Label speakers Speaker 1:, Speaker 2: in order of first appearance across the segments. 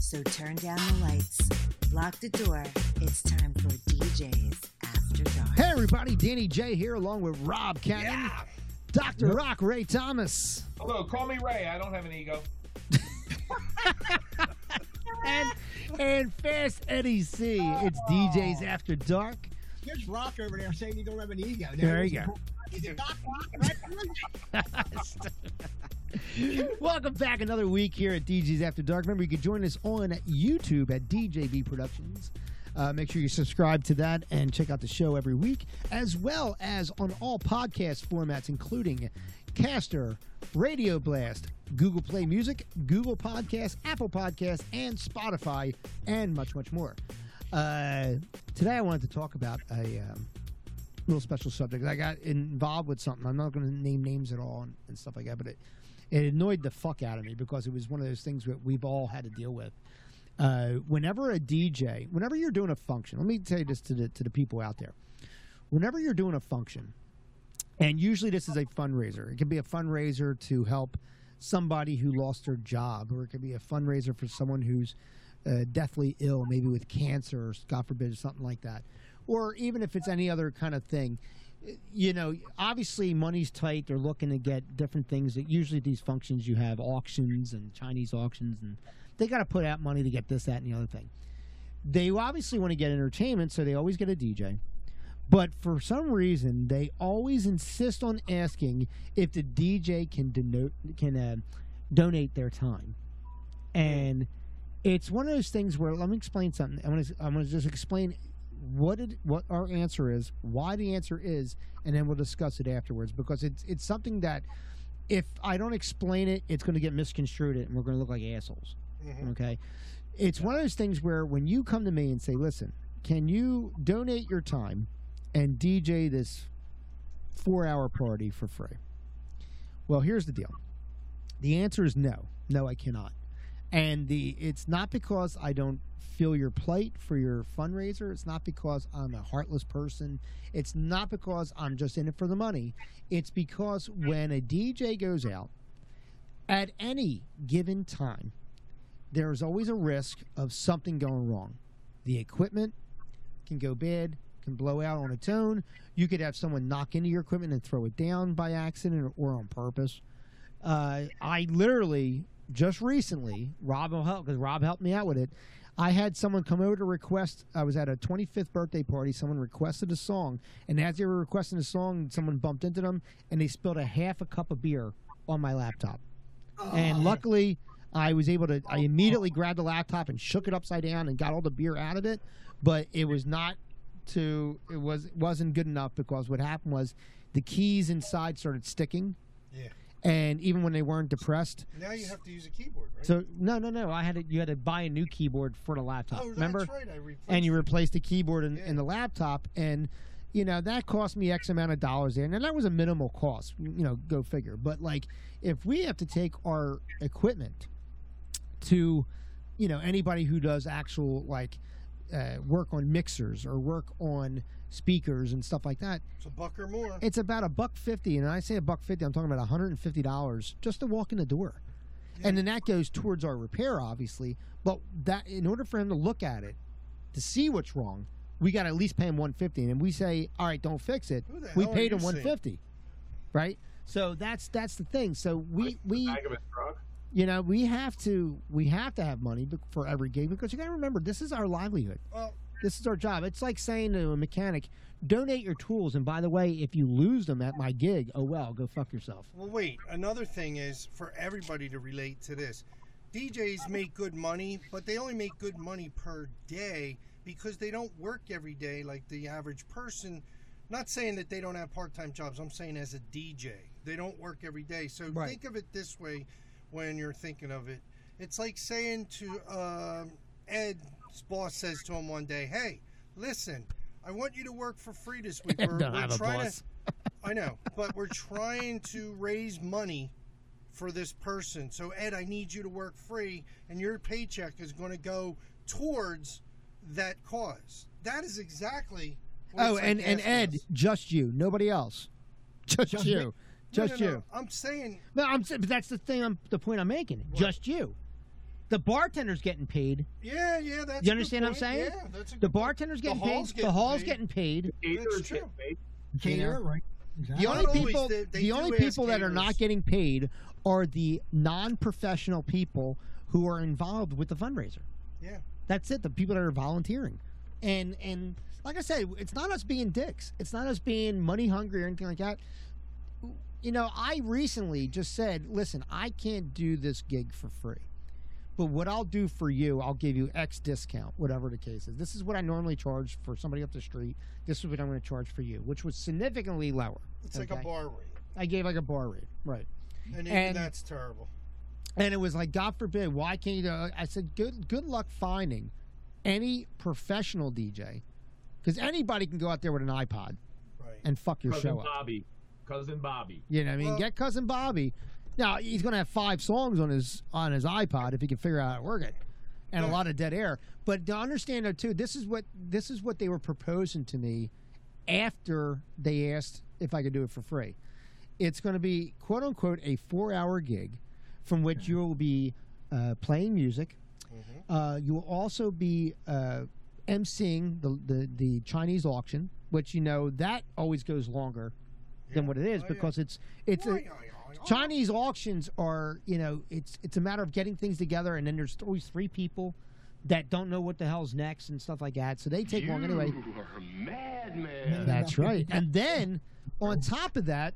Speaker 1: So turn down the lights, lock the door. It's time for DJ's After Dark.
Speaker 2: Hey, everybody. Danny J here, along with Rob Cannon, Dr. Rock Ray Thomas,
Speaker 3: Hello, call me Ray. I don't have an ego.
Speaker 2: and, and Fast Eddie C. It's DJ's After Dark.
Speaker 4: There's Rock over there saying you don't have an ego.
Speaker 2: There you go.
Speaker 4: He's a doc rock, right?
Speaker 2: Welcome back another week here at DJ's After Dark. Remember, you can join us on YouTube at DJB Productions. Uh, make sure you subscribe to that and check out the show every week, as well as on all podcast formats, including Caster, Radio Blast, Google Play Music, Google Podcasts, Apple Podcasts, and Spotify, and much, much more. Uh, today, I wanted to talk about a. Um, little special subject. I got involved with something. I'm not going to name names at all and, and stuff like that, but it, it annoyed the fuck out of me because it was one of those things that we've all had to deal with. Uh, whenever a DJ, whenever you're doing a function, let me tell you this to the, to the people out there. Whenever you're doing a function, and usually this is a fundraiser, it can be a fundraiser to help somebody who lost their job, or it could be a fundraiser for someone who's uh, deathly ill, maybe with cancer, or God forbid, or something like that. Or even if it's any other kind of thing, you know, obviously money's tight. They're looking to get different things. That usually at these functions you have auctions and Chinese auctions, and they got to put out money to get this, that, and the other thing. They obviously want to get entertainment, so they always get a DJ. But for some reason, they always insist on asking if the DJ can denote can uh, donate their time, and it's one of those things where let me explain something. I'm gonna I'm gonna just explain what it, what our answer is, why the answer is, and then we'll discuss it afterwards because it's it's something that if I don't explain it, it's going to get misconstrued and we're going to look like assholes. Okay, it's one of those things where when you come to me and say, "Listen, can you donate your time and DJ this four-hour party for free?" Well, here's the deal. The answer is no. No, I cannot and the it's not because I don't feel your plight for your fundraiser. It's not because I'm a heartless person. It's not because I'm just in it for the money. It's because when a DJ goes out at any given time, there is always a risk of something going wrong. The equipment can go bad, can blow out on its own. You could have someone knock into your equipment and throw it down by accident or, or on purpose uh, I literally just recently, Rob will help because Rob helped me out with it. I had someone come over to request. I was at a 25th birthday party. Someone requested a song, and as they were requesting a song, someone bumped into them, and they spilled a half a cup of beer on my laptop.
Speaker 5: Oh,
Speaker 3: Oh.
Speaker 2: And luckily, I was able to. I immediately grabbed the laptop and shook it upside down and got all the beer out of it. But it was not to. It was wasn't good enough because what happened was the keys inside started sticking,
Speaker 3: Yeah.
Speaker 2: and even when they weren't depressed.
Speaker 3: Now you have to use a keyboard, right?
Speaker 2: So no, no, no. I had to, you had to buy a new keyboard for the laptop.
Speaker 3: oh, that's
Speaker 2: remember?
Speaker 3: right. I replaced
Speaker 2: And you
Speaker 3: it.
Speaker 2: replaced the keyboard and,
Speaker 3: Yeah.
Speaker 2: and the laptop, and you know that cost me X amount of dollars there, and that was a minimal cost. You know, go figure. But like, if we have to take our equipment to, you know, anybody who does actual like uh, work on mixers or work on speakers and stuff like that,
Speaker 3: it's a buck or more.
Speaker 2: it's about a buck fifty, and when I say a buck fifty, I'm talking about hundred and fifty dollars just to walk in the door, and then that goes towards our repair, obviously. But that in order for him to look at it, to see what's wrong, we got to at least pay him one fifty, and we say, all right, don't fix it.
Speaker 3: Who the
Speaker 2: We
Speaker 3: hell are
Speaker 2: paid
Speaker 3: you
Speaker 2: him one
Speaker 3: seeing?
Speaker 2: fifty, right? So that's that's the thing. So we we
Speaker 3: Bag of a truck.
Speaker 2: you know we have to we have to have money bec- for every gig because you got to remember this is our livelihood.
Speaker 3: Well,
Speaker 2: This is our job. It's like saying to a mechanic, donate your tools. And by the way, if you lose them at my gig, oh well, go fuck yourself.
Speaker 5: Well, wait. Another thing is for everybody to relate to this. DJs make good money, but they only make good money per day because they don't work every day like the average person. Not saying that they don't have part-time jobs. I'm saying as a DJ, they don't work every day. So
Speaker 2: Right.
Speaker 5: think of it this way when you're thinking of it. It's like saying to um Ed's boss says to him one day, "Hey, listen, I want you to work for free this week. We're,
Speaker 2: Don't
Speaker 5: we're
Speaker 2: have a
Speaker 5: trying
Speaker 2: boss.
Speaker 5: to I know, but we're trying to raise money for this person. So Ed, I need you to work free, and your paycheck is going to go towards that cause. That is exactly. What
Speaker 2: Oh,
Speaker 5: it's like
Speaker 2: and, and
Speaker 5: asking
Speaker 2: Ed,
Speaker 5: us.
Speaker 2: just you, nobody else. Just,
Speaker 4: Just
Speaker 2: you.
Speaker 4: me?
Speaker 5: No,
Speaker 2: Just
Speaker 5: no,
Speaker 2: you.
Speaker 5: no, I'm saying
Speaker 2: No, I'm saying, but that's the thing. I'm the point I'm making. Just you.
Speaker 6: the bartender's getting paid.
Speaker 5: Yeah, yeah, that's. a
Speaker 6: You
Speaker 5: good
Speaker 6: understand what I'm
Speaker 5: point.
Speaker 6: saying?
Speaker 5: Yeah, that's a
Speaker 6: The
Speaker 5: good point.
Speaker 6: bartender's getting
Speaker 5: hall's
Speaker 6: paid.
Speaker 5: getting
Speaker 6: the hall's
Speaker 5: paid.
Speaker 6: getting paid.
Speaker 5: That's
Speaker 7: Caterers
Speaker 5: true.
Speaker 7: get paid.
Speaker 4: Caterer, right? Exactly.
Speaker 2: The
Speaker 5: Not
Speaker 2: only
Speaker 5: always.
Speaker 2: people,
Speaker 5: They- they
Speaker 2: the
Speaker 5: do
Speaker 2: only
Speaker 5: ask
Speaker 2: people that are not
Speaker 5: caterers.
Speaker 2: getting paid are the non-professional people who are involved with the fundraiser.
Speaker 5: Yeah.
Speaker 2: that's it. The people that are volunteering, and and like I said, it's not us being dicks. It's not us being money hungry or anything like that. You know, I recently just said, listen, I can't do this gig for free. But what I'll do for you, I'll give you X discount, whatever the case is. This is what I normally charge for somebody up the street. This is what I'm going to charge for you, which was significantly lower.
Speaker 5: It's like
Speaker 2: Okay.
Speaker 5: a bar rate,
Speaker 2: I gave like a bar rate, right?
Speaker 5: and, even
Speaker 2: And-
Speaker 5: that's terrible.
Speaker 2: And it was like, God forbid, why can't you? do it?" I said, good, good luck finding any professional DJ, because anybody can go out there with an iPod
Speaker 5: Right.
Speaker 2: and fuck your
Speaker 7: Cousin
Speaker 2: show up.
Speaker 7: Bobby. Cousin Bobby.
Speaker 2: You know, what I mean,
Speaker 5: Well-
Speaker 2: get cousin Bobby. Now he's gonna have five songs on his on his iPod if he can figure out how to work it, and a
Speaker 5: Right.
Speaker 2: lot of dead air. But to understand though too, this is what this is what they were proposing to me after they asked if I could do it for free. It's going to be quote unquote a four hour gig, from which you will be uh, playing music.
Speaker 5: Mhm.
Speaker 2: Uh, you will also be uh, emceeing the, the the Chinese auction, which you know that always goes longer than
Speaker 5: Yeah.
Speaker 2: what it is
Speaker 5: Oh, yeah.
Speaker 2: because it's it's a, Chinese auctions are, you know, it's it's a matter of getting things together, and then there's always three people that don't know what the hell's next and stuff like that. So they take long anyway.
Speaker 7: You are a madman.
Speaker 2: That's right. And then on top of that,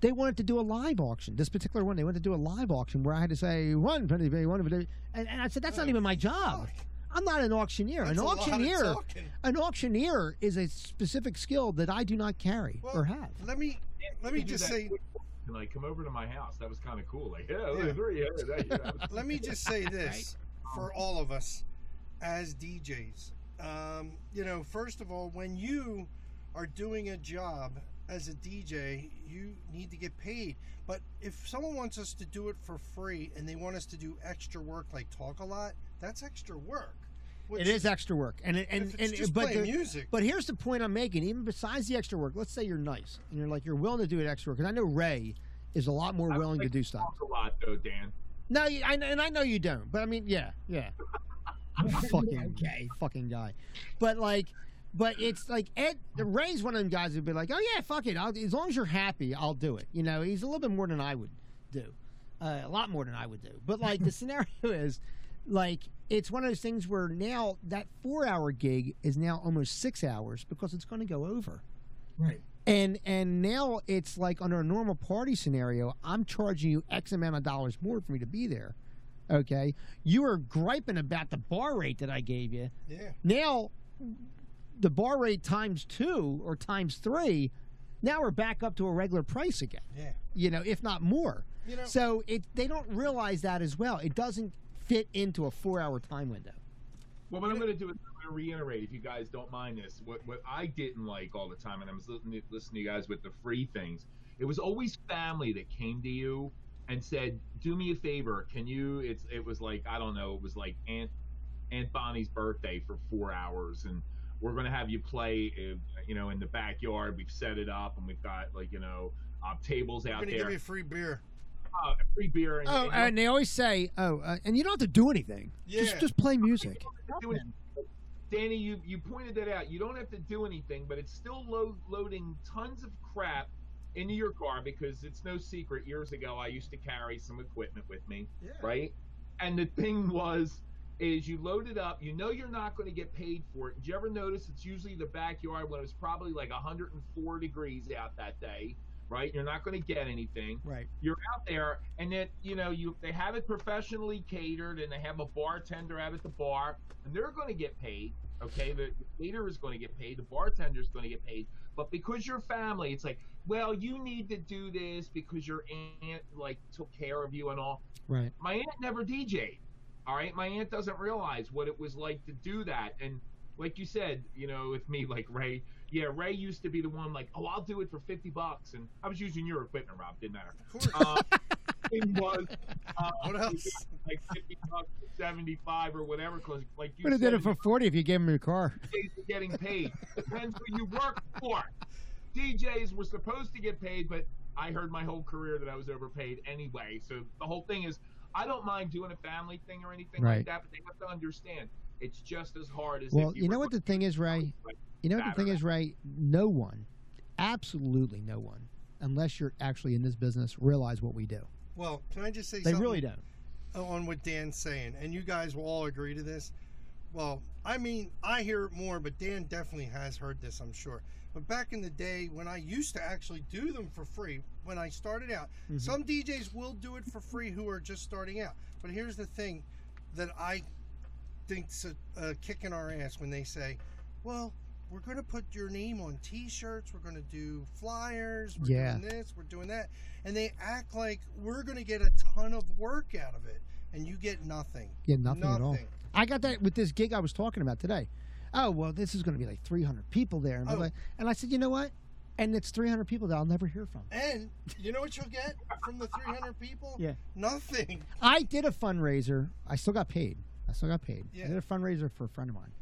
Speaker 2: they wanted to do a live auction. This particular one, they wanted to do a live auction where I had to say one, penny, penny, one, penny," and, and I said that's not even my job. I'm not an auctioneer.
Speaker 5: That's
Speaker 2: an
Speaker 5: a lot of
Speaker 2: auctioneer,
Speaker 5: talking.
Speaker 2: an auctioneer is a specific skill that I do not carry
Speaker 5: Well,
Speaker 2: or have.
Speaker 5: Let me let
Speaker 7: You
Speaker 5: me
Speaker 7: do
Speaker 5: just
Speaker 7: that
Speaker 5: say
Speaker 7: quick walk And like, come over to my house. That was kind of cool. Like, yeah,
Speaker 5: Yeah.
Speaker 7: look, there you are. That- that was-
Speaker 5: let me just say this for all of us as DJs. Um, you know, first of all, when you are doing a job as a DJ, you need to get paid. But if someone wants us to do it for free and they want us to do extra work, like talk a lot, that's extra work. Which,
Speaker 2: It is extra work, and it- and
Speaker 5: if it's
Speaker 2: and
Speaker 5: just
Speaker 2: but
Speaker 5: playing
Speaker 2: the-
Speaker 5: music.
Speaker 2: But here's the point I'm making. Even besides the extra work, let's say you're nice and you're like you're willing to do it extra work. Because I know Ray is a lot more
Speaker 7: I would
Speaker 2: willing to
Speaker 7: like
Speaker 2: do stuff.
Speaker 7: talk a lot though, Dan.
Speaker 2: No, you- I, and I know you don't. But I mean, yeah, yeah. fucking
Speaker 4: Okay.
Speaker 2: fucking guy. But like, but it's like Ed Ray's one of them guys who'd be like, oh yeah, fuck it. I'll, as long as you're happy, I'll do it. You know, he's a little bit more than I would do, uh, a lot more than I would do. But like the scenario is, like it's one of those things where now that four hour gig is now almost six hours because it's going to go over.
Speaker 4: Right.
Speaker 2: And and now it's like under a normal party scenario, I'm charging you X amount of dollars more for me to be there. Okay. You were griping about the bar rate that I gave you.
Speaker 5: yeah.
Speaker 2: Now the bar rate times two or times three, now we're back up to a regular price again.
Speaker 5: Yeah.
Speaker 2: You know, if not more.
Speaker 5: You know,
Speaker 2: So it they don't realize that as well. It doesn't fit into a four hour time window.
Speaker 7: Well, what I'm going to do is I'm going to reiterate, if you guys don't mind this, what what I didn't like all the time, and I was listening listening to you guys with the free things. It was always family that came to you and said, "Do me a favor, can you?" It's it was like I don't know, it was like Aunt Aunt Bonnie's birthday for four hours, and we're going to have you play, uh, you know, in the backyard. We've set it up, and we've got like you know uh, tables
Speaker 5: I'm
Speaker 7: out
Speaker 5: going to give
Speaker 7: there,
Speaker 5: you free beer.
Speaker 7: uh, free beer, and,
Speaker 2: Oh,
Speaker 7: and
Speaker 2: and they always say, "Oh, uh, and you don't have to do anything.
Speaker 5: Yeah.
Speaker 2: Just just play music."
Speaker 7: do anything. Danny, you, you pointed that out. You don't have to do anything, but it's still lo- loading tons of crap into your car because it's no secret. Years ago, I used to carry some equipment with me,
Speaker 5: yeah.
Speaker 7: right? And the thing was, is you load it up. You know you're not going to get paid for it. Did you ever notice it's usually the backyard when it's probably like 104 degrees out that day, right? You're not going to get anything
Speaker 2: Right.
Speaker 7: out there and that you know you they have it professionally catered and they have a bartender out at the bar and they're going to get paid okay the, the caterer is going to get paid the bartender is going to get paid but because you're family it's like well you need to do this because your aunt like took care of you and all
Speaker 2: Right.
Speaker 7: my aunt never DJ'd. All right, my aunt doesn't realize what it was like to do that. And like you said, you know, with me, like Ray, yeah, Ray used to be the one like, oh, I'll do it for fifty bucks, and I was using your equipment, Rob, didn't I?
Speaker 5: Of course.
Speaker 7: Uh, it was uh,
Speaker 5: what else?
Speaker 7: like fifty bucks, seventy-five, or whatever. Because like you
Speaker 2: Would have
Speaker 7: said,
Speaker 2: did it for forty if you gave him your car.
Speaker 7: DJs are getting paid. Depends who you work for. DJs were supposed to get paid, but I heard my whole career that I was overpaid anyway. So the whole thing is, I don't mind doing a family thing or anything
Speaker 2: Right.
Speaker 7: like that, but they have to understand it's just as hard as.
Speaker 2: Well,
Speaker 7: if
Speaker 2: you,
Speaker 7: you,
Speaker 2: know
Speaker 7: were
Speaker 2: what the thing is, Ray.
Speaker 7: doing it, like,
Speaker 2: You know what the thing
Speaker 7: Saturday.
Speaker 2: is, Ray. No one, absolutely no one, unless you're actually in this business, realize what we do.
Speaker 5: Well, can I just say
Speaker 2: They
Speaker 5: something
Speaker 2: really don't.
Speaker 5: on what Dan's saying? And you guys will all agree to this. Well, I mean, I hear it more, but Dan definitely has heard this, I'm sure. But back in the day when I used to actually do them for free, when I started out,
Speaker 2: Mhm.
Speaker 5: some DJs will do it for free who are just starting out. But here's the thing that I think's a, a kick in our ass when they say, well, we're going to put your name on t shirts, we're going to do flyers, we're
Speaker 2: Yeah.
Speaker 5: doing this, we're doing that. And they act like we're going to get a ton of work out of it. And you get nothing.
Speaker 2: Yeah, nothing, at all. I got that with this gig I was talking about today. Oh well, this is going to be like 300 people there, and, I'm
Speaker 5: Oh.
Speaker 2: like- and I said, you know what? And it's 300 people that I'll never hear from.
Speaker 5: And you know what you'll get from the 300 people?
Speaker 2: Yeah.
Speaker 5: Nothing.
Speaker 2: I did a fundraiser. I still got paid. I still got paid. I
Speaker 5: Yeah.
Speaker 2: did a fundraiser for a friend of mine,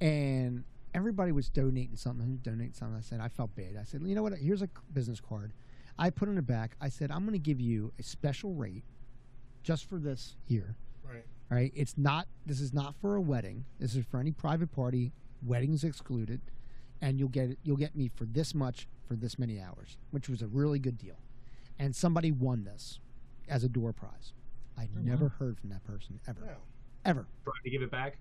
Speaker 2: and everybody was donating something. Donating something. I said I felt bad. I said, you know what? Here's a c- business card. I put in the back. I said I'm going to give you a special rate just for this year.
Speaker 5: Right.
Speaker 2: All right. It's not. This is not for a wedding. This is for any private party. Weddings excluded. And you'll get it. You'll get me for this much for this many hours, which was a really good deal. And somebody won this as a door prize. I
Speaker 4: Oh,
Speaker 2: never heard from that person ever,
Speaker 5: No.
Speaker 2: ever.
Speaker 7: trying to give it back.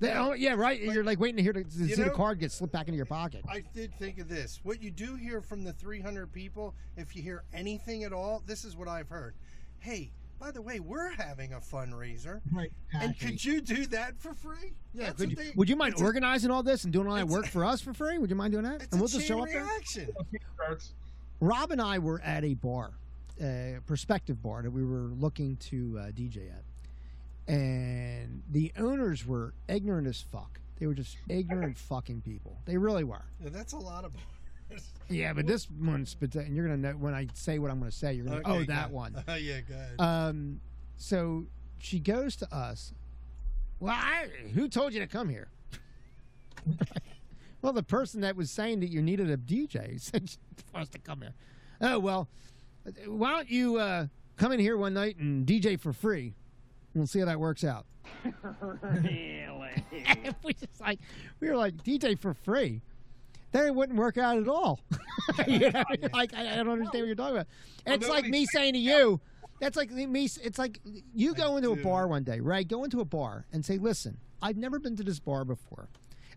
Speaker 2: They, oh yeah, right.
Speaker 5: Like-
Speaker 2: You're like waiting to hear to, to see
Speaker 5: You
Speaker 2: the
Speaker 5: know-
Speaker 2: card get slipped back into your pocket.
Speaker 5: I did think of this. What you do hear from the 300 people, if you hear anything at all, this is what I've heard. Hey, by the way, we're having a fundraiser.
Speaker 4: Right.
Speaker 5: And
Speaker 4: Actually,
Speaker 5: could you do that for free?
Speaker 2: yeah,
Speaker 5: That's
Speaker 2: could
Speaker 5: what
Speaker 2: you,
Speaker 5: they-
Speaker 2: would you mind
Speaker 5: it's a-
Speaker 2: organizing all this and doing all that
Speaker 5: it's a-
Speaker 2: work for us for free? Would you mind doing that?
Speaker 5: It's
Speaker 2: and we'll
Speaker 5: a chain
Speaker 2: just show up there.
Speaker 5: reaction.
Speaker 7: Shirts.
Speaker 2: Rob and I were at a bar, a prospective bar that we were looking to uh, DJ at, and the owners were ignorant as fuck. They were just ignorant fucking people. They really were.
Speaker 5: Yeah, that's a lot of bars.
Speaker 2: Yeah, but this one, spit- and you're gonna know when I say what I'm gonna say. You're gonna
Speaker 5: Okay,
Speaker 2: oh that
Speaker 5: go-
Speaker 2: one.
Speaker 5: Oh yeah, go ahead.
Speaker 2: Um, so she goes to us. Well, I, who told you to come here? well, the person that was saying that you needed a DJ said for us to come here. Oh well, why don't you uh, come in here one night and DJ for free? We'll see how that works out. And we just like we were like DJ for free. That wouldn't work out at all. You know, Like I, I don't understand what you're talking about. It's like me saying to you, that's like me. It's like you go into a
Speaker 5: do.
Speaker 2: bar one day, right? Go into a bar and say, "Listen, I've never been to this bar before,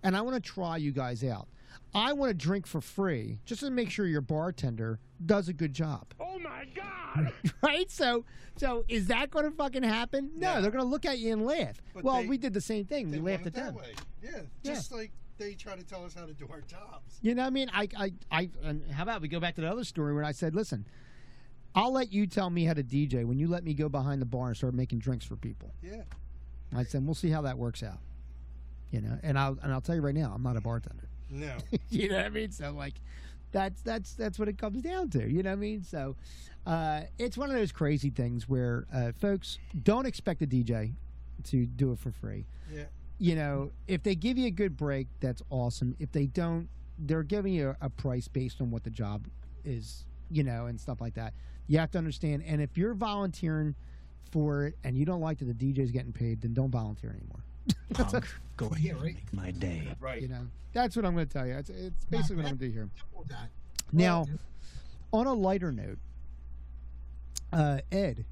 Speaker 2: and I want to try you guys out. I want to drink for free just to make sure your bartender does a good job."
Speaker 6: Oh my god!
Speaker 2: right? So, so is that going to fucking happen? No,
Speaker 5: No.
Speaker 2: they're going to look at you and laugh.
Speaker 5: But
Speaker 2: well,
Speaker 5: they-
Speaker 2: we did the same thing.
Speaker 5: They
Speaker 2: We laughed
Speaker 5: want it
Speaker 2: at
Speaker 5: that
Speaker 2: them.
Speaker 5: way. Yeah,
Speaker 2: Yeah.
Speaker 5: just like they try to tell us how to do our jobs.
Speaker 2: You know what I mean? I, I, I, and how about we go back to the other story when I said, listen, I'll let you tell me how to DJ when you let me go behind the bar and start making drinks for people.
Speaker 5: Yeah.
Speaker 2: I said, we'll see how that works out. You know, and I'll and I'll tell you right now, I'm not a bartender.
Speaker 5: No.
Speaker 2: you know what I mean? So like, that's that's that's what it comes down to. You know what I mean? So, uh, it's one of those crazy things where uh, folks don't expect a DJ to do it for free.
Speaker 5: Yeah.
Speaker 2: You know, if they give you a good break, that's awesome. If they don't, they're giving you a price based on what the job is. You know, and stuff like that. You have to understand. And if you're volunteering for it and you don't like that the DJ's getting paid, then don't volunteer anymore.
Speaker 8: Punk, go ahead,
Speaker 4: Yeah, right.
Speaker 8: make my day.
Speaker 7: Right.
Speaker 2: You know, that's what I'm going to tell you. It's, it's basically what I'm going to do here.
Speaker 4: well, that-
Speaker 2: Now, on a lighter note, uh, Ed,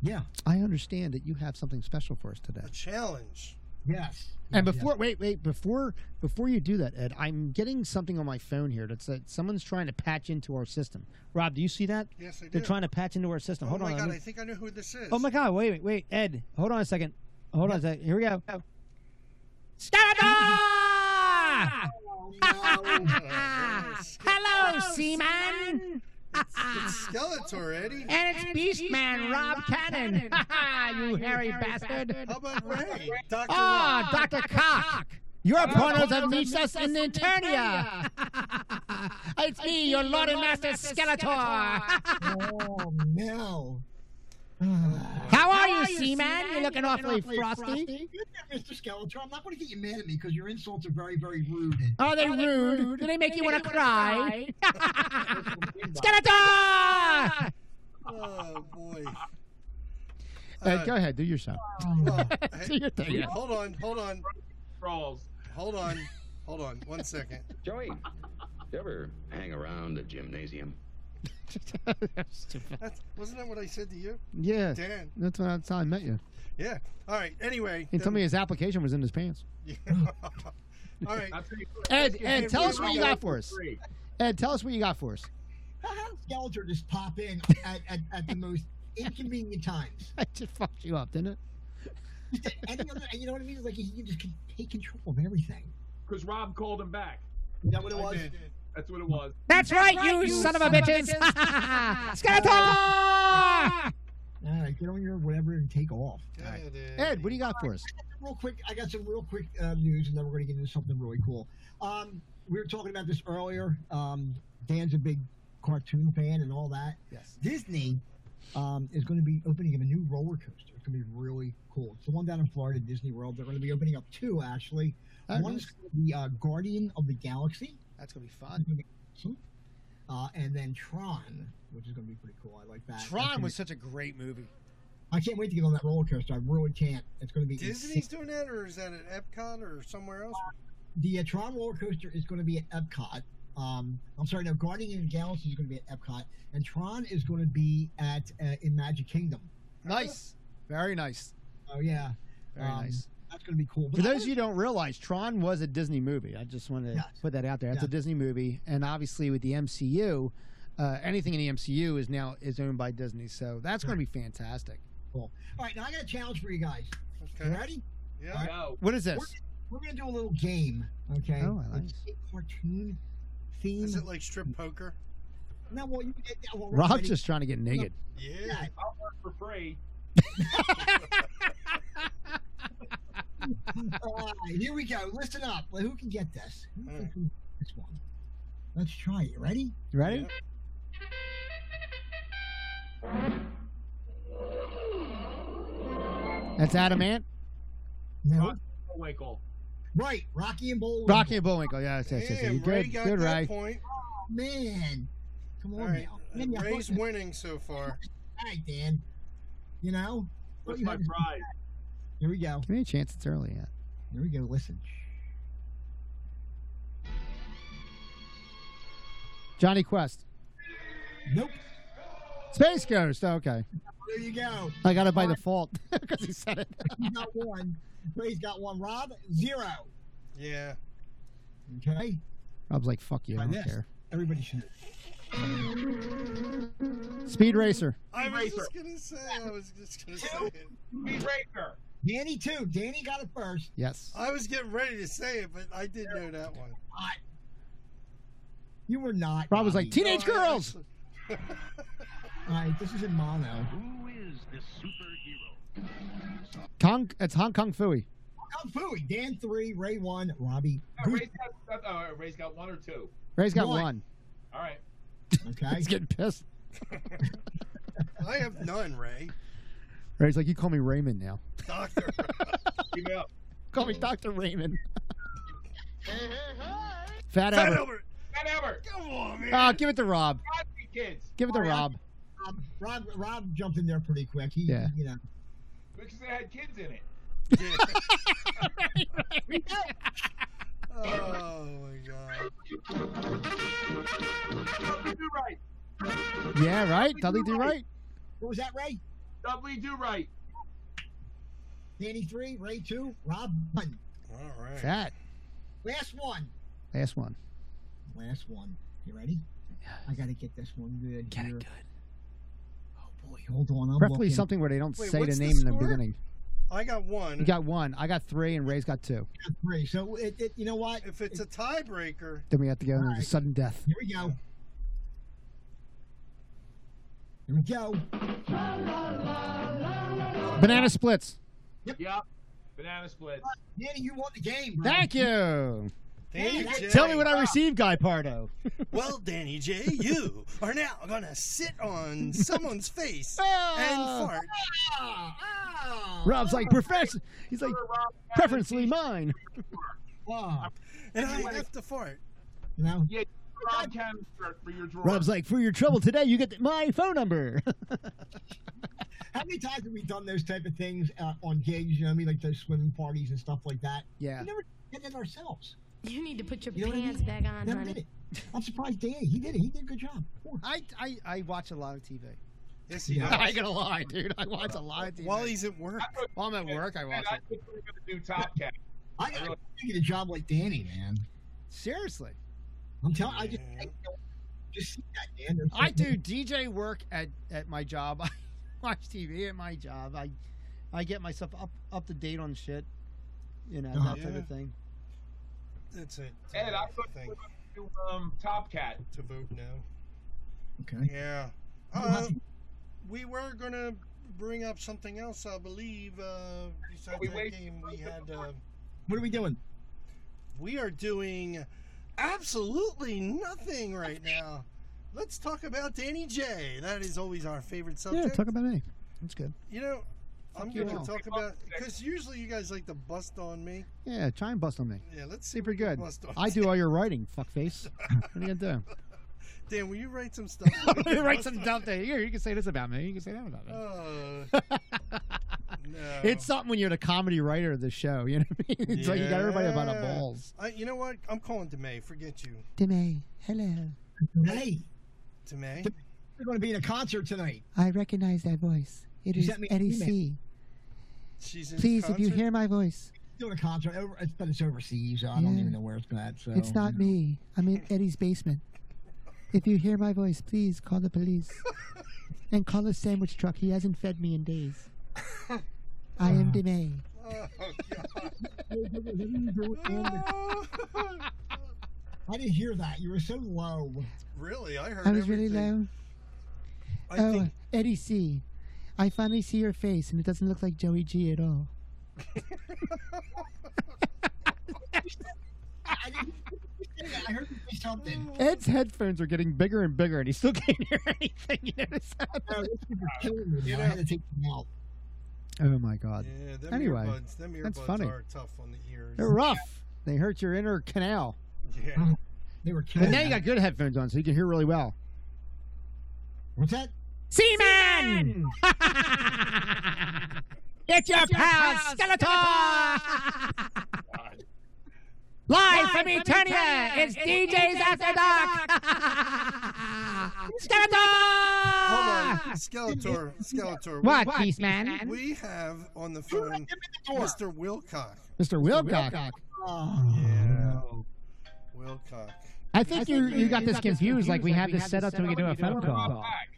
Speaker 4: Yeah.
Speaker 2: I understand that you have something special for us today.
Speaker 5: A challenge.
Speaker 4: Yes.
Speaker 2: And
Speaker 4: Yes,
Speaker 2: before, wait, wait, before before you do that, Ed, I'm getting something on my phone here that said someone's trying to patch into our system. Rob, do you see that?
Speaker 5: Yes, I do.
Speaker 2: They're trying to patch into our system.
Speaker 5: Oh
Speaker 2: Hold
Speaker 5: my
Speaker 2: on.
Speaker 5: god,
Speaker 2: let
Speaker 5: I
Speaker 2: me-
Speaker 5: think I know who this is.
Speaker 2: oh my God! Wait, wait, wait, Ed, hold on a second. Hold on a second. Here we go. Stop!
Speaker 5: god.
Speaker 2: Hello, Seaman. Ah,
Speaker 5: it's Skeletor, Eddie.
Speaker 2: And it's Beastman Rob Cannon. you hairy bastard.
Speaker 5: How about Ray? Dr.
Speaker 2: Ah,
Speaker 5: Rock.
Speaker 2: Dr. Cock. Your opponents have meets us in Internia. it's me, your Lord and Master Skeletor.
Speaker 4: Oh no. Ah.
Speaker 2: How are you, Seaman? You're looking awfully frosty.
Speaker 4: Good night, Mr. Skeletor, I'm not going to get you mad at me because your insults are very, very rude. And
Speaker 2: Are they rude? Do they make you want to cry? Skeletor!
Speaker 5: Oh boy.
Speaker 2: Ed, Uh, go ahead, do your show.
Speaker 5: well,
Speaker 2: do your thing.
Speaker 7: Yeah.
Speaker 5: Oh, hold on, hold on,
Speaker 7: Trolls.
Speaker 5: hold on, hold on. One second.
Speaker 6: Joey, you ever hang around a gymnasium?
Speaker 5: That's, wasn't that what I said to you,
Speaker 2: yeah,
Speaker 5: Dan?
Speaker 2: that's when I- that's how I met you.
Speaker 5: Yeah. All right. Anyway.
Speaker 2: He told me his application was in his pants.
Speaker 5: All right.
Speaker 7: I'll tell you what,
Speaker 2: Ed,
Speaker 5: Hey,
Speaker 2: Ed, tell us what you got for us.
Speaker 7: free.
Speaker 2: Ed, tell us what you got for us.
Speaker 4: How how does Gallagher just pop in at, at, at the most inconvenient times?
Speaker 2: I just fucked you up, didn't it?
Speaker 4: Any other, and you know what I mean? It's like he can just can take control of everything.
Speaker 7: Because Rob called him back.
Speaker 4: Is that what it
Speaker 5: I
Speaker 4: was?
Speaker 5: did.
Speaker 7: That's what it was.
Speaker 9: That's right, you son of a bitches. Skeletor!
Speaker 4: All right, get on your whatever and take off.
Speaker 5: Yeah, it is.
Speaker 2: Ed, what do you got for us?
Speaker 4: real quick, I got some real quick uh, news, and then we're going to get into something really cool. Um, we were talking about this earlier. Um, Dan's a big cartoon fan and all that.
Speaker 2: Yes.
Speaker 4: Disney um, is going to be opening up a new roller coaster. It's going to be really cool. It's the one down in Florida, Disney World. They're going to be opening up two, actually.
Speaker 2: Oh,
Speaker 4: One's
Speaker 2: nice.
Speaker 4: going to be uh, Guardian of the Galaxy.
Speaker 2: That's gonna be fun.
Speaker 4: That's gonna be awesome. Uh, and then Tron, which is going to be pretty cool. I like that. That's
Speaker 10: Tron
Speaker 4: gonna
Speaker 10: was
Speaker 4: be-
Speaker 10: such a great movie.
Speaker 4: I can't wait to get on that roller coaster. I really can't. It's going to be insane.
Speaker 5: Disney's doing that, or is that at Epcot or somewhere else?
Speaker 4: the uh, Tron roller coaster is going to be at Epcot. Um, I'm sorry, no, Guardian of the Galaxy is going to be at Epcot, and Tron is going to be at uh, in Magic Kingdom.
Speaker 2: Nice. Very nice.
Speaker 4: Oh yeah,
Speaker 2: Very
Speaker 4: Um,
Speaker 2: nice.
Speaker 4: that's going to be cool.
Speaker 2: For those of you who don't realize, Tron was a Disney movie. I just want to
Speaker 4: Yes.
Speaker 2: put that out there. That's a
Speaker 4: Yeah.
Speaker 2: Disney movie, and obviously with the MCU, uh, anything in the MCU is now is owned by Disney. So that's going to
Speaker 5: Hmm.
Speaker 2: be fantastic.
Speaker 4: all right, now I got a challenge for you guys. You
Speaker 5: Okay.
Speaker 4: ready?
Speaker 5: Yeah.
Speaker 7: No.
Speaker 2: What is this?
Speaker 4: We're going to do a little game. Okay.
Speaker 2: Oh, I like
Speaker 4: It's a cartoon theme.
Speaker 5: Is it like strip poker?
Speaker 4: no, well, you, uh, well,
Speaker 2: Rob's
Speaker 4: ready?
Speaker 2: just trying to get naked.
Speaker 5: Yeah.
Speaker 7: I'll work for free.
Speaker 4: All right, here we go. Listen up. Well, who can get this? Who
Speaker 5: All
Speaker 4: can
Speaker 5: right.
Speaker 4: get this one? Let's try it. Ready?
Speaker 2: You ready?
Speaker 5: Yeah.
Speaker 2: That's Adam Ant,
Speaker 4: No.
Speaker 7: Rocky Bullwinkle.
Speaker 4: Right. Rocky and Bull.
Speaker 2: Rocky and Bullwinkle. Yes, yes, yes. yes.
Speaker 5: Damn, Ray
Speaker 2: Good,
Speaker 5: got
Speaker 2: good,
Speaker 5: that
Speaker 2: right?
Speaker 5: point.
Speaker 4: Oh, man. Come on
Speaker 5: All right.
Speaker 4: now. Maybe I thought
Speaker 5: Ray's
Speaker 4: you-
Speaker 5: winning so far.
Speaker 4: All right, Dan. You know?
Speaker 7: What's
Speaker 4: you
Speaker 7: my
Speaker 4: had this-
Speaker 7: prize?
Speaker 4: Here we go.
Speaker 2: Give me a chance. It's early yet.
Speaker 4: Here we go. Listen.
Speaker 2: Johnny Quest,
Speaker 4: Nope.
Speaker 2: Space Ghost. Okay,
Speaker 4: There you go.
Speaker 2: I got it by default because he said it.
Speaker 4: He's got one. Ray's got one. Rob, zero.
Speaker 5: Yeah.
Speaker 4: Okay?
Speaker 2: Rob's like, "Fuck you, I
Speaker 4: I
Speaker 2: don't
Speaker 4: missed.
Speaker 2: care."
Speaker 4: Everybody should know.
Speaker 2: Speed Racer.
Speaker 5: I was
Speaker 7: Racer.
Speaker 5: just gonna say. I was just gonna say it.
Speaker 7: Speed Racer. Oh,
Speaker 4: Danny, too. Danny got it first.
Speaker 2: Yes.
Speaker 5: I was getting ready to say it, but I did know that one.
Speaker 4: Hot. You were not.
Speaker 2: Rob was like,
Speaker 4: Robbie.
Speaker 2: "Teenage
Speaker 5: No, I
Speaker 2: Girls."
Speaker 5: actually-
Speaker 4: All right, this is in mono.
Speaker 6: Who is the superhero?
Speaker 2: Kong. It's Hong Kong Fooey.
Speaker 4: Kung Fu. Dan, three. Ray, one. Robbie,
Speaker 7: No, Ray's got, uh, Ray's got one or two.
Speaker 2: Ray's got
Speaker 4: One.
Speaker 2: one.
Speaker 7: All right.
Speaker 4: okay?
Speaker 2: He's getting pissed.
Speaker 5: I have none, Ray.
Speaker 2: Ray's like, "You call me Raymond now.
Speaker 5: Doctor.
Speaker 7: Keep it up.
Speaker 2: Call me Doctor Raymond." Fat
Speaker 5: Fat
Speaker 2: Albert.
Speaker 5: Albert.
Speaker 7: Matt Albert.
Speaker 5: Come on, man.
Speaker 2: Ah, give it to Rob.
Speaker 7: Cosby Kids.
Speaker 2: Give it to
Speaker 4: Sorry, I-
Speaker 2: Rob.
Speaker 4: Rob, Rob, Rob jumped in there pretty quick. He,
Speaker 2: Yeah.
Speaker 4: You know.
Speaker 7: Because they had kids in it.
Speaker 5: Yeah. oh my god.
Speaker 7: Dudley Do Right.
Speaker 2: Yeah, right. Dudley do right.
Speaker 4: What was that, Ray?
Speaker 7: Dudley Do Right.
Speaker 4: Danny three, Ray two, Rob one.
Speaker 5: All right.
Speaker 2: Fat.
Speaker 4: Last one.
Speaker 2: Last one.
Speaker 4: Last one. You ready? I gotta get this one good. Get it good. Oh boy, hold on. I'm
Speaker 2: Preferably
Speaker 4: looking.
Speaker 2: something where they don't
Speaker 5: Wait,
Speaker 2: say the
Speaker 5: what's the
Speaker 2: name in the
Speaker 5: score?
Speaker 2: beginning.
Speaker 5: I got one.
Speaker 2: You got one. I got three, and Ray's got two.
Speaker 4: Three. So it, it, you know what?
Speaker 5: if it's a tiebreaker,
Speaker 2: Then we have to go into the
Speaker 4: Alright.
Speaker 2: sudden death.
Speaker 4: Here we go. Here we go.
Speaker 2: Banana splits.
Speaker 7: Yep. Banana Splits.
Speaker 4: Danny, you won the game. Bro.
Speaker 2: Thank you.
Speaker 5: Danny
Speaker 4: Yeah,
Speaker 5: J.
Speaker 2: Tell me what I received, Guy Pardo.
Speaker 5: Well, Danny J, you are now gonna sit on someone's face and
Speaker 2: Ah.
Speaker 5: fart.
Speaker 4: Ah, ah,
Speaker 2: Rob's like professor. He's like preferably mine.
Speaker 4: ah.
Speaker 5: And I have to fart.
Speaker 4: You know.
Speaker 7: Yeah, Rob Cannon for your drawer.
Speaker 2: Rob's like, for your trouble today, you get my phone number.
Speaker 4: How many times have we done those type of things uh, on gigs? You know what I mean, like those swimming parties and stuff like that.
Speaker 2: Yeah.
Speaker 4: We never did it ourselves.
Speaker 10: You need to put your
Speaker 4: You know what I
Speaker 10: pants
Speaker 4: mean?
Speaker 10: back on,
Speaker 4: Never
Speaker 10: honey.
Speaker 4: did it. I'm surprised Dan. He did it. He did a good job. Poor-
Speaker 2: I, I, I watch a lot of TV.
Speaker 5: Yes, he
Speaker 4: Yeah.
Speaker 5: does.
Speaker 2: I ain't gonna lie, dude. I watch a lot of TV.
Speaker 5: While he's at work,
Speaker 2: While I'm at work, I
Speaker 7: Man,
Speaker 2: watch
Speaker 7: I
Speaker 2: it.
Speaker 7: think we're gonna do Top Cat.
Speaker 4: I got to get a job like Danny, man.
Speaker 2: Seriously.
Speaker 4: I'm telling. I just,
Speaker 5: Yeah.
Speaker 4: I don't- just see that, Dan. There's
Speaker 2: I do
Speaker 4: something-
Speaker 2: DJ work at, at my job. I watch TV at my job. I I get myself up up to date on shit. You know,
Speaker 4: Uh-huh.
Speaker 2: that type
Speaker 5: Yeah.
Speaker 2: of thing.
Speaker 5: that's it.
Speaker 7: Ed, I
Speaker 5: Uh,
Speaker 7: thought
Speaker 5: thing
Speaker 7: you were gonna do um, Top Cat.
Speaker 5: to vote now.
Speaker 4: Okay.
Speaker 5: Yeah.
Speaker 4: I'm happy
Speaker 5: Uh, we were gonna bring up something else, I believe. Uh, besides
Speaker 7: we
Speaker 5: that
Speaker 7: wait-
Speaker 5: game, we
Speaker 7: wait for
Speaker 5: had.
Speaker 7: the-
Speaker 5: Uh,
Speaker 4: What are we doing?
Speaker 5: we are doing absolutely nothing right now. Let's talk about Danny J. That is always our favorite subject.
Speaker 2: about anything. That's good.
Speaker 5: you know, I'm
Speaker 2: you
Speaker 5: going to
Speaker 2: all.
Speaker 5: talk about because usually you guys like to bust on me.
Speaker 2: Yeah, try and bust on me.
Speaker 5: Yeah, let's see.
Speaker 2: Super
Speaker 5: if we can
Speaker 2: good.
Speaker 5: Bust on
Speaker 2: I do all your writing, fuckface. What are you gonna do?
Speaker 5: Dan, will you write some stuff? so we
Speaker 2: I'm gonna
Speaker 5: can
Speaker 2: write
Speaker 5: bust
Speaker 2: some
Speaker 5: on-
Speaker 2: stuff there. Here, you can say this about me. You can say that about me.
Speaker 5: Oh, no.
Speaker 2: It's something when you're the comedy writer of the show. You know what I mean? It's like you got everybody about the
Speaker 5: Yeah.
Speaker 2: balls.
Speaker 5: I, you know what? I'm calling DeMay. Forget you,
Speaker 2: Deme, hello.
Speaker 4: Hey,
Speaker 5: DeMay.
Speaker 4: we're going to be in a concert tonight.
Speaker 2: I recognize that voice. It
Speaker 4: You is sent me an Eddie email.
Speaker 2: C.
Speaker 5: She's in concert?
Speaker 2: my voice,
Speaker 4: Doing a concert, over, it's, but it's overseas. So I don't
Speaker 2: Yeah.
Speaker 4: even know where it's at. So you know.
Speaker 2: me. I'm in Eddie's basement. If you hear my voice, please call the police. and call a sandwich truck. He hasn't fed me in days. I
Speaker 4: Uh,
Speaker 2: am Deme.
Speaker 5: Oh,
Speaker 4: I
Speaker 5: Oh, God.
Speaker 4: didn't hear that. You were so low.
Speaker 5: really? I heard.
Speaker 2: I was really
Speaker 5: everything.
Speaker 2: low.
Speaker 5: I
Speaker 2: Oh,
Speaker 5: think
Speaker 2: Eddie C. I finally see your face, and it doesn't look like Joey G at all.
Speaker 4: I, didn't, I heard you say something.
Speaker 2: Ed's headphones are getting bigger and bigger, and he still can't hear anything. You notice that?
Speaker 4: Oh, this is
Speaker 2: Uh,
Speaker 4: killing me.
Speaker 5: You
Speaker 4: I had to take them out.
Speaker 2: Oh my God,
Speaker 5: Yeah, them
Speaker 2: Anyway,
Speaker 5: earbuds, them earbuds
Speaker 2: that's funny.
Speaker 5: are tough on the ears.
Speaker 2: they're rough. They hurt your inner canal.
Speaker 5: Yeah.
Speaker 4: They were killing
Speaker 2: But now
Speaker 4: me.
Speaker 2: you got good headphones on, so you can hear really well.
Speaker 4: What's that?
Speaker 9: Seaman!
Speaker 2: it's your
Speaker 9: pal, Skeletor! Live from Eternia, it's DJs After Dark!
Speaker 2: Ah!
Speaker 5: Hold
Speaker 9: Skeletor!
Speaker 5: on, Skeletor, Skeletor. we-
Speaker 9: What, Beastman?
Speaker 5: We have on the phone Mr. Wilcock.
Speaker 2: Mr. Wilcock.
Speaker 4: Oh,
Speaker 5: Yeah. Wilcock.
Speaker 9: I think you, you got this confused, like we have this set up so we can do a phone
Speaker 7: Come
Speaker 9: call.
Speaker 7: back.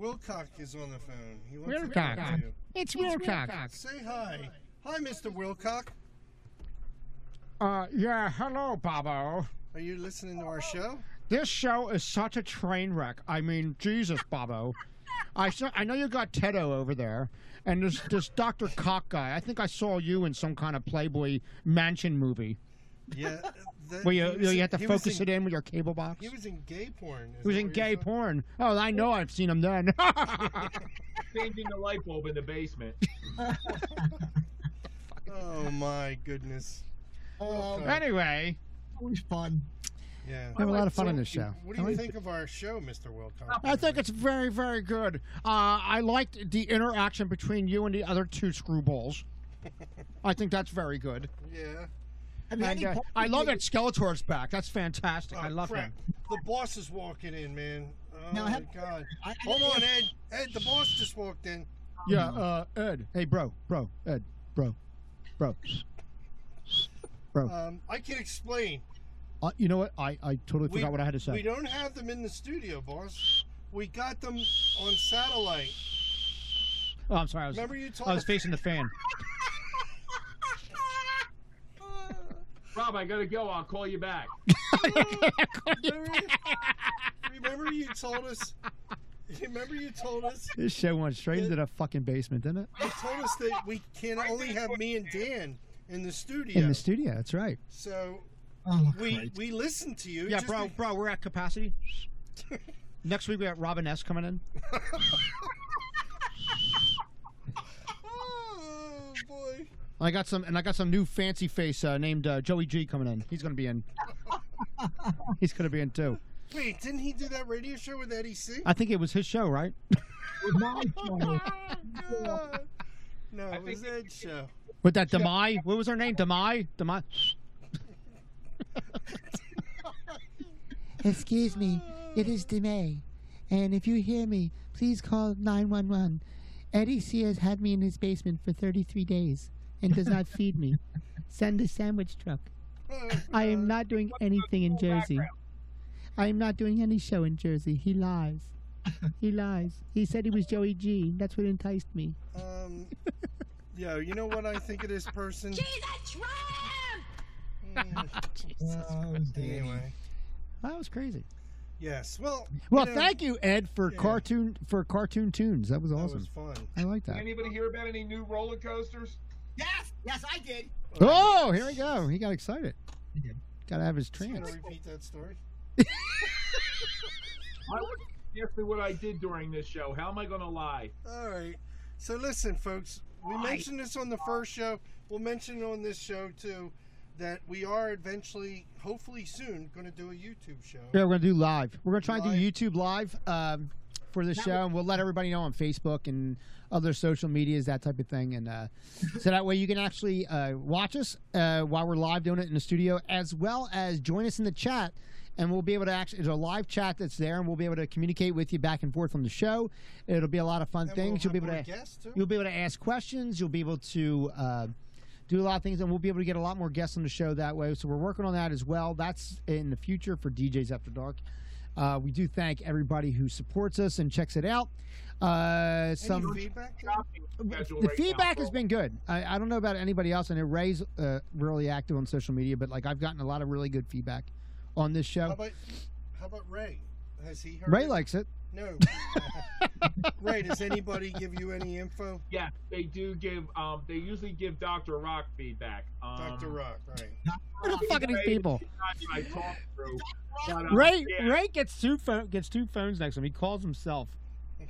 Speaker 5: Wilcock is on the phone. He wants to
Speaker 2: Wilcock.
Speaker 5: talk to you.
Speaker 9: It's Wilcox.
Speaker 5: Say hi. Hi, Mr. Wilcock.
Speaker 2: Uh, yeah, hello, Bobo.
Speaker 5: Are you listening to our show?
Speaker 2: This show is such a train wreck. I mean, Jesus, Bobo. I saw, I know you got Teddo over there, and this this Doctor Cock guy. I think I saw you in some kind of Playboy Mansion movie
Speaker 5: Yeah. that-
Speaker 2: where you,
Speaker 5: he
Speaker 2: you,
Speaker 5: was
Speaker 2: you
Speaker 5: in-
Speaker 2: have to
Speaker 5: he was
Speaker 2: focus
Speaker 5: in-
Speaker 2: it in with your cable box.
Speaker 5: He was in gay porn. is
Speaker 2: He was
Speaker 5: that
Speaker 2: in
Speaker 5: what you're
Speaker 2: gay
Speaker 5: talking-
Speaker 2: porn. Oh, I know. I've seen him then.
Speaker 7: Changing the light bulb in the basement.
Speaker 5: Oh my goodness.
Speaker 4: oh,
Speaker 5: Okay.
Speaker 2: anyway,
Speaker 4: always fun.
Speaker 5: Yeah.
Speaker 2: I have a lot of fun on this show. I
Speaker 5: What do you
Speaker 2: like
Speaker 5: think of our show, Mr. Wilcock?
Speaker 2: I think it's very, very good. Uh, I liked the interaction between you and the other two screwballs. I think that's very good.
Speaker 5: Yeah.
Speaker 4: I mean,
Speaker 2: And uh, I love that Skeletor's back. That's fantastic. I
Speaker 5: Oh,
Speaker 2: love
Speaker 5: crap.
Speaker 2: him.
Speaker 5: The boss is walking in, man. Oh
Speaker 4: Now,
Speaker 5: my
Speaker 4: have-
Speaker 5: god.
Speaker 4: I, I,
Speaker 5: Hold on, Ed. Ed, the boss just walked in.
Speaker 2: Yeah, uh, Ed. Hey, bro, bro, Ed, bro, bro.
Speaker 5: Um, I can explain.
Speaker 2: Uh, you know what? I, I totally
Speaker 5: We-
Speaker 2: forgot what I had to
Speaker 5: We
Speaker 2: say.
Speaker 5: don't have them in the studio, boss. We got them on satellite.
Speaker 2: Oh, I'm sorry. I was,
Speaker 5: Remember you
Speaker 2: I was
Speaker 5: told
Speaker 2: facing the fan.
Speaker 7: Rob, I gotta go. I'll call you back.
Speaker 5: remember, remember you told us. Remember you told us.
Speaker 2: This show went straight into the fucking basement, didn't it?
Speaker 5: You told us that we can only have me and Dan in the studio.
Speaker 2: In the studio. That's right.
Speaker 5: so
Speaker 4: Oh,
Speaker 5: we
Speaker 4: Christ.
Speaker 5: we listened to you.
Speaker 2: Yeah,
Speaker 5: just
Speaker 2: bro,
Speaker 5: be-
Speaker 2: bro, we're at capacity. Next week we got Robin S coming in.
Speaker 5: Oh boy.
Speaker 2: I got some, and I got some new fancy face uh, named uh, Joey G coming in. He's gonna be in. He's gonna be in too.
Speaker 5: Wait, didn't he do that radio show with Eddie C?
Speaker 2: I think it was his show, right?
Speaker 4: was my show.
Speaker 5: God. No,
Speaker 7: I
Speaker 5: it was Ed's show.
Speaker 9: With that Demai, what was her name? Demai, Demai.
Speaker 10: Excuse me, it is DeMay. And if you hear me, please call 911. Eddie Sears had me in his basement for 33 days and does not feed me. Send a sandwich truck.
Speaker 5: Uh,
Speaker 10: I am not doing anything in Jersey. I am not doing any show in Jersey. He lies. He lies. He said he was Joey G. That's what enticed me.
Speaker 5: Um, yo, you know what I think of this person? Mm,
Speaker 4: Oh, damn.
Speaker 5: anyway,
Speaker 2: That was crazy.
Speaker 5: yes. Well,
Speaker 2: Well,
Speaker 5: know-
Speaker 2: thank you, Ed, for
Speaker 5: Yeah.
Speaker 2: cartoon for cartoon tunes. That was
Speaker 5: that
Speaker 2: awesome.
Speaker 5: was fun.
Speaker 2: I like
Speaker 7: Did
Speaker 2: that.
Speaker 7: anybody hear about any new roller coasters?
Speaker 4: Yes, yes, I did.
Speaker 2: Oh, here we go. He got excited.
Speaker 4: He did.
Speaker 2: Got to have his
Speaker 5: Can I
Speaker 2: trance.
Speaker 5: repeat that story?
Speaker 7: I would ask me what I did during this show. How am I going to lie?
Speaker 5: All right. So listen, folks. We mentioned this on the first show. We'll mention on this show too that we are eventually, hopefully soon, going to do a YouTube show.
Speaker 2: Yeah, we're gonna do live. We're gonna try and
Speaker 5: Live.
Speaker 2: do YouTube live um, for the show, and we'll let everybody know on Facebook and other social medias, that type of thing, and uh, so that way you can actually uh, watch us uh, while we're live doing it in the studio, as well as join us in the chat, and we'll be able to actually there's a live chat that's there, and we'll be able to communicate with you back and forth from the show. It'll be a lot of fun
Speaker 5: And
Speaker 2: things.
Speaker 5: We'll
Speaker 2: You'll be
Speaker 5: have
Speaker 2: able
Speaker 5: more
Speaker 2: to
Speaker 5: guests too.
Speaker 2: you'll be able to ask questions. You'll be able to uh, do a lot of things, and we'll be able to get a lot more guests on the show that way. So we're working on that as well. That's in the future for DJs After Dark. Uh, we do thank everybody who supports us and checks it out. Uh,
Speaker 5: Any
Speaker 2: some
Speaker 5: feedback?
Speaker 7: Shopping schedule
Speaker 2: the
Speaker 7: right now,
Speaker 2: feedback has
Speaker 7: folks.
Speaker 2: been good. I, I don't know about anybody else. I know Ray's uh, really active on social media, but like I've gotten a lot of really good feedback on this
Speaker 5: How
Speaker 2: show.
Speaker 5: about how about Ray? Has he heard?
Speaker 2: Ray
Speaker 5: it?
Speaker 2: likes it.
Speaker 5: no. Ray, does anybody give you any info?
Speaker 7: Yeah, they do give. Um, they usually give Doctor Rock feedback. Um,
Speaker 5: Doctor Rock, right?
Speaker 2: What the fuck are these
Speaker 7: Ray-
Speaker 2: people?
Speaker 7: I talked through. but, uh,
Speaker 2: Ray
Speaker 7: yeah.
Speaker 2: Ray gets two phone, gets two phones next to him. He calls himself.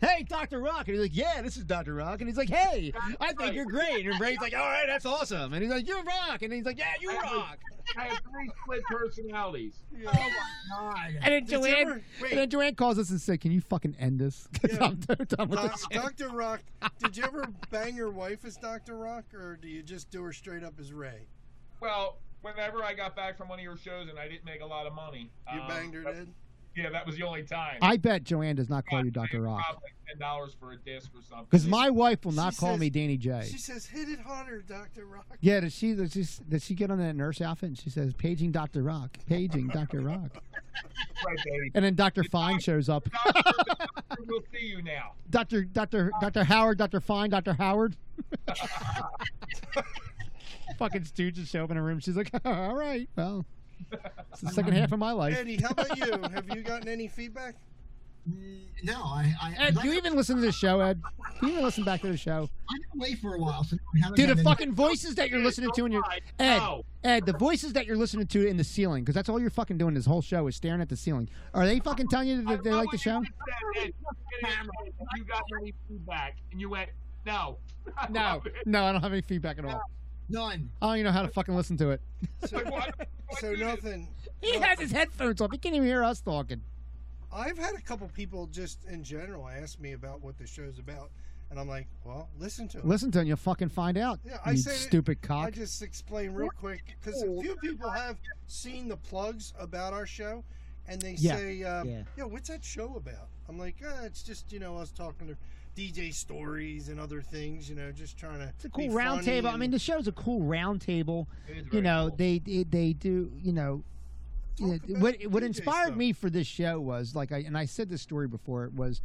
Speaker 2: Hey, Doctor Rock, and he's like, "Yeah, this is Doctor Rock," and he's like, "Hey, I think you're great," and Ray's like, "All right, that's awesome," and he's like, "You're Rock," and he's like, "Yeah, you
Speaker 7: I have, like,
Speaker 2: rock."
Speaker 7: I have three split personalities.
Speaker 5: Yeah. Oh,
Speaker 2: And then
Speaker 5: Did you
Speaker 2: Joanne,
Speaker 5: ever-
Speaker 2: and then
Speaker 5: wait,
Speaker 2: Joanne calls us and says, "Can you fucking end this? 'Cause
Speaker 5: Yeah. Uh,
Speaker 2: I'm done- done with this shit."
Speaker 5: Doctor Rock, did you ever bang your wife as Doctor Rock, or do you just do her straight up as Ray?
Speaker 7: Well, whenever I got back from one of your shows and I didn't make a lot of money,
Speaker 5: You
Speaker 7: um,
Speaker 5: banged her
Speaker 7: that-
Speaker 5: dead.
Speaker 7: Yeah, that was the only time.
Speaker 2: I bet Joanne does not call you Doctor Rock
Speaker 7: Probably ten dollars for a disc or something.
Speaker 2: because my wife will not
Speaker 5: She
Speaker 2: call
Speaker 5: says-
Speaker 2: me Danny J.
Speaker 5: She says, "Hit it harder, Doctor Rock."
Speaker 2: Yeah, does she does she, does she get on that nurse outfit and she says, "Paging Doctor Rock, paging Doctor Rock,"
Speaker 7: right, baby.
Speaker 2: and then Doctor Fine shows up.
Speaker 7: Doctor, doctor, we'll see you now.
Speaker 2: Doctor Doctor Doctor Howard, Doctor Fine, Doctor Howard. Fucking stooges show up in a room. She's like, all right, well, it's the second half of my life.
Speaker 5: Eddie, how about you? Have you gotten any feedback?
Speaker 4: Mm, No, I. I,
Speaker 2: Ed,
Speaker 4: I,
Speaker 2: do you even listen to the show, Ed? Do you even listen back to the show?
Speaker 4: I didn't wait for a while, so I haven't
Speaker 2: Dude, the
Speaker 4: gotten any-
Speaker 2: fucking voices that you're listening to in your
Speaker 7: Alright,
Speaker 2: Ed,
Speaker 7: no.
Speaker 2: Ed, the voices that you're listening to in the ceiling, because that's all you're fucking doing this whole show is staring at the ceiling. Are they fucking telling you that they
Speaker 7: I
Speaker 2: like the
Speaker 7: know
Speaker 2: show?
Speaker 7: when You, said, Ed, you said it, you got any feedback, and you went, "No, I
Speaker 2: No,
Speaker 7: love it."
Speaker 2: no, I don't have any feedback at all.
Speaker 4: None.
Speaker 2: I don't even know how to fucking listen to it.
Speaker 5: So,
Speaker 7: Like, what? What
Speaker 5: so
Speaker 7: did it-
Speaker 5: nothing.
Speaker 2: He has his headphones off. He can't even hear us talking.
Speaker 5: I've had a couple people just in general ask me about what the show's about, and I'm like, "Well, listen to it."
Speaker 2: Listen to him. You'll fucking find out.
Speaker 5: Yeah,
Speaker 2: I
Speaker 5: I
Speaker 2: you
Speaker 5: said it-
Speaker 2: stupid
Speaker 5: I
Speaker 2: cock.
Speaker 5: just explain real quick because a few people have seen the plugs about our show, and they
Speaker 2: Yeah.
Speaker 5: say, um,
Speaker 8: Yeah.
Speaker 5: yeah. what's that show about?" I'm like, ah, "It's just you know us talking to DJ stories and other things, you know, just trying to."
Speaker 2: it's a cool round table. I mean, the show's a cool round table.
Speaker 7: It is
Speaker 2: You
Speaker 7: very
Speaker 2: know,
Speaker 7: cool.
Speaker 2: they, they they do. You know, you know,
Speaker 5: Talk about
Speaker 2: what what
Speaker 5: DJ
Speaker 2: inspired
Speaker 5: stuff.
Speaker 2: me for this show was like I and I said this story before. It was,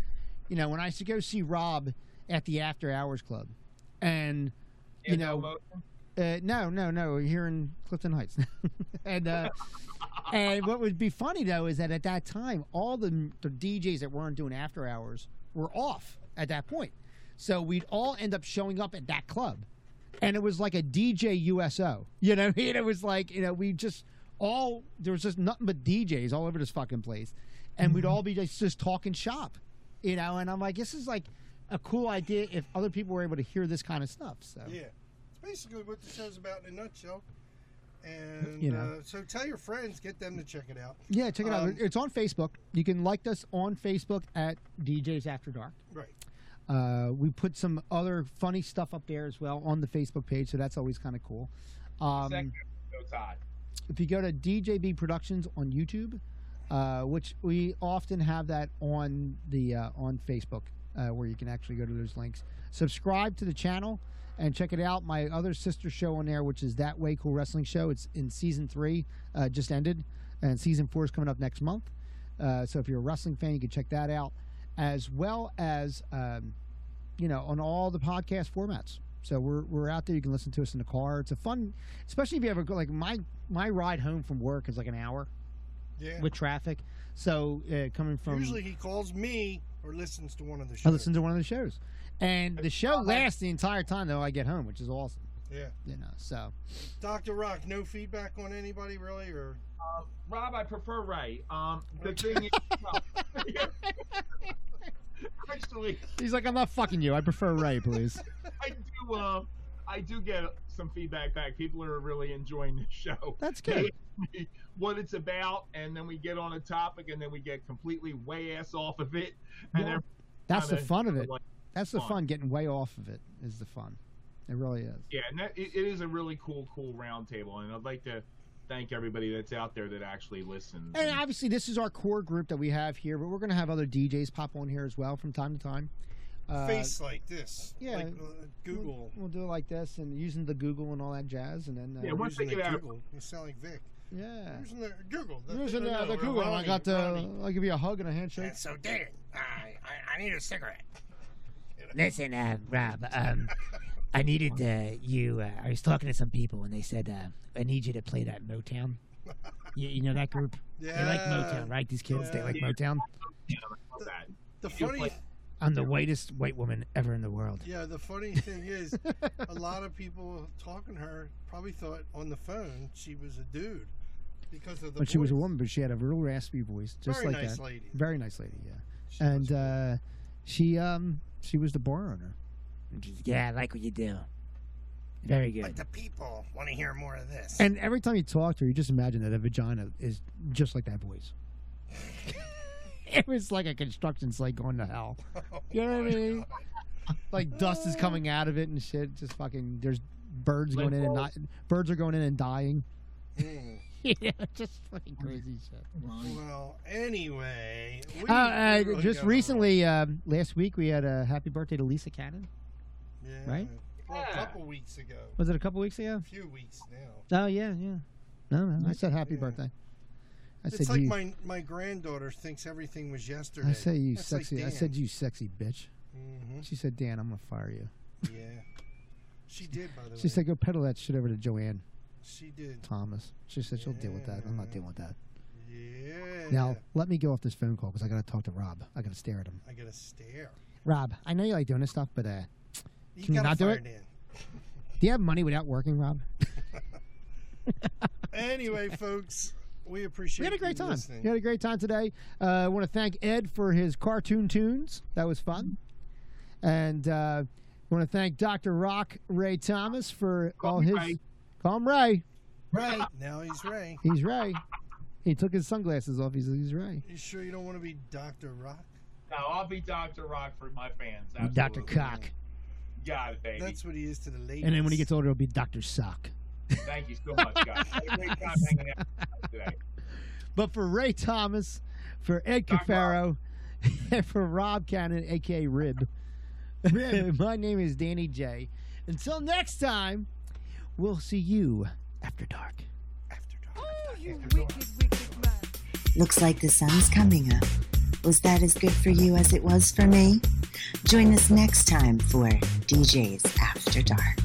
Speaker 2: you know, when I used to go see Rob at the After Hours Club, and
Speaker 7: Yeah,
Speaker 2: you
Speaker 7: no
Speaker 2: know,
Speaker 7: motion.
Speaker 2: Uh, no, no, no. Here in Clifton Heights, and uh, and what would be funny though is that at that time, all the the DJs that weren't doing after hours were off at that point, so we'd all end up showing up at that club, and it was like a DJ USO. You know, what I mean? it was like you know we just all there was just nothing but DJs all over this fucking place, and we'd all be just, just talking shop, you know. And I'm like, this is like a cool idea if other people were able to hear this kind of stuff. So
Speaker 5: yeah, it's basically what the show's about in a nutshell. And
Speaker 2: You know.
Speaker 5: uh, so tell your friends, get them to check it out.
Speaker 2: Yeah, check it out.
Speaker 5: Um,
Speaker 2: It's on Facebook. You can like us on Facebook at DJs After Dark.
Speaker 5: Right.
Speaker 2: Uh, we put some other funny stuff up there as well on the Facebook page, so that's always kind of cool. Um,
Speaker 7: Second episode's hot.
Speaker 2: if you go to DJB Productions on YouTube, uh, which we often have that on the uh, on Facebook, uh, where you can actually go to those links. Subscribe to the channel and check it out. My other sister show on there, which is That Way Cool Wrestling Show. It's in season three, uh, just ended, and season four is coming up next month. Uh, so if you're a wrestling fan, you can check that out, as well as um, you know on all the podcast formats. So we're, we're out there. You can listen to us in the car. It's a fun, especially if you ever go like my my ride home from work is like an hour
Speaker 5: Yeah.
Speaker 2: with traffic. So uh, coming from
Speaker 5: Usually he calls me or listens to one of the shows.
Speaker 2: I listen to one of the shows, and the show lasts the entire time though I get home, which is awesome.
Speaker 5: Yeah.
Speaker 2: You know, so
Speaker 5: Dr. Rock, no feedback on anybody really or
Speaker 7: Um, Rob, I prefer Ray. Um, the thing is, actually,
Speaker 2: he's like, I'm not fucking you. I prefer Ray, please.
Speaker 7: I do. Um, I do get some feedback back. People are really enjoying the show.
Speaker 2: That's
Speaker 7: They
Speaker 2: good.
Speaker 7: ask me what it's about, and then we get on a topic, and then we get completely way ass off of it. And
Speaker 2: Yeah.
Speaker 7: every
Speaker 2: That's the
Speaker 7: time
Speaker 2: fun of
Speaker 7: I-
Speaker 2: it. That's the
Speaker 7: fun.
Speaker 2: fun. Getting way off of it is the fun. It really is.
Speaker 7: Yeah, and that, it, it is a really cool, cool roundtable, and I'd like to thank everybody that's out there that actually listens.
Speaker 2: And obviously, this is our core group that we have here, but we're going to have other DJs pop on here as well from time to time. Uh,
Speaker 5: face like this.
Speaker 2: yeah.
Speaker 5: Like uh, Google.
Speaker 2: We'll do it like this and using the Google and all that jazz. And then, uh,
Speaker 7: Yeah,
Speaker 5: You're
Speaker 7: once they
Speaker 5: using
Speaker 7: get
Speaker 5: the
Speaker 7: out of-
Speaker 5: Google. You sound like Vic.
Speaker 2: yeah.
Speaker 5: You're Using the Google. the
Speaker 2: Using
Speaker 5: thing I
Speaker 2: uh,
Speaker 5: know,
Speaker 2: the
Speaker 5: or
Speaker 2: Google, and I
Speaker 5: Ronnie,
Speaker 2: got the.
Speaker 5: Ronnie.
Speaker 2: I'll give you a hug and a handshake.
Speaker 5: so Dan, I, I I need a cigarette.
Speaker 9: Listen, uh, Rob, um, I needed uh, you. Uh, I was talking to some people, and they said, uh, I need you to play that Motown. You, you know that group?
Speaker 5: Yeah. Oh,
Speaker 9: They like Motown, right? These kids, they like Motown.
Speaker 7: Love that.
Speaker 5: The
Speaker 7: You
Speaker 5: funny
Speaker 7: play-
Speaker 9: I'm the whitest white woman ever in the world.
Speaker 5: yeah, the funny thing is a lot of people talking to her probably thought on the phone she was a dude because of the
Speaker 2: But she was a
Speaker 5: voice.
Speaker 2: woman, but she had a real raspy voice, just
Speaker 5: Very
Speaker 2: like
Speaker 5: nice
Speaker 2: that.
Speaker 5: lady.
Speaker 2: Very nice lady, yeah.
Speaker 5: She was
Speaker 2: and uh, she, um, she was the bar owner.
Speaker 9: Yeah, I like what you do. Very
Speaker 5: But
Speaker 9: good.
Speaker 5: the people want to hear more of this.
Speaker 2: And every time you talk to her, you just imagine that a vagina is just like that voice. it was like a construction site going to hell.
Speaker 5: Oh
Speaker 2: You know what I mean? Like dust is coming out of it and shit. Just fucking, there's birds
Speaker 7: Like
Speaker 2: going in and not,
Speaker 7: balls.
Speaker 2: birds are going in and dying.
Speaker 5: Mm.
Speaker 2: yeah, just fucking crazy shit.
Speaker 5: well, anyway, we
Speaker 2: Uh, uh,
Speaker 5: really
Speaker 2: just
Speaker 5: got
Speaker 2: recently, um, last week, we had a happy birthday to Lisa Cannon.
Speaker 5: around. yeah.
Speaker 2: right?
Speaker 5: Well, a
Speaker 7: Yeah.
Speaker 5: couple weeks ago,
Speaker 2: Was it a couple weeks ago?
Speaker 5: a few weeks now.
Speaker 2: Oh yeah, yeah. No, no, I said happy
Speaker 5: Yeah.
Speaker 2: birthday. I said
Speaker 5: It's like
Speaker 2: you.
Speaker 5: my my granddaughter thinks everything was yesterday.
Speaker 2: I say you
Speaker 5: That's like
Speaker 2: sexy. I
Speaker 5: Dan.
Speaker 2: said you sexy bitch.
Speaker 5: Mhm,
Speaker 2: She said, Dan, I'm gonna fire you.
Speaker 5: yeah, she did. By the
Speaker 2: She
Speaker 5: way,
Speaker 2: said, go peddle that shit over to Joanne
Speaker 5: she did.
Speaker 2: Thomas. She said she'll deal with that. I'm not dealing with that.
Speaker 5: Yeah.
Speaker 2: Now let me go off this phone call because I gotta talk to Rob. I gotta stare at him.
Speaker 5: I got to stare.
Speaker 2: Rob, I know you like doing this stuff, but uh, Can you
Speaker 5: gotta
Speaker 2: not do
Speaker 5: fire
Speaker 2: it?
Speaker 5: Dan.
Speaker 2: do you have money without working, Rob?
Speaker 5: Anyway, folks, we appreciate.
Speaker 2: We had a great
Speaker 5: you
Speaker 2: time.
Speaker 5: listening.
Speaker 2: We had a great time today. Uh, I want to thank Ed for his cartoon tunes. That was fun. And uh, I want to thank Dr. Rock Ray Thomas for
Speaker 7: Call
Speaker 2: all
Speaker 7: me
Speaker 2: his.
Speaker 7: Ray.
Speaker 2: Call him Ray.
Speaker 4: Right.
Speaker 5: Now he's Ray.
Speaker 2: He's Ray. he took his sunglasses off. He's, he's Ray.
Speaker 5: You sure you don't want to be Doctor Rock?
Speaker 7: No, I'll be Doctor Rock for my fans.
Speaker 2: Be Dr.
Speaker 7: absolutely.
Speaker 2: Cock.
Speaker 7: Got it, baby.
Speaker 5: That's what he is to the ladies.
Speaker 2: And then when he gets older, it'll be Dr. Sock.
Speaker 7: Thank you so much, guys. Had a great time hanging out with you guys today.
Speaker 2: But for Ray Thomas, for Ed
Speaker 7: Dr.
Speaker 2: Cafaro, and for Rob Cannon, aka Rib, my name is Danny J. Until next time, we'll see you after dark.
Speaker 5: after dark.
Speaker 1: Looks like the sun's coming up. Was that as good for you as it was for me? Join us next time for DJs After Dark.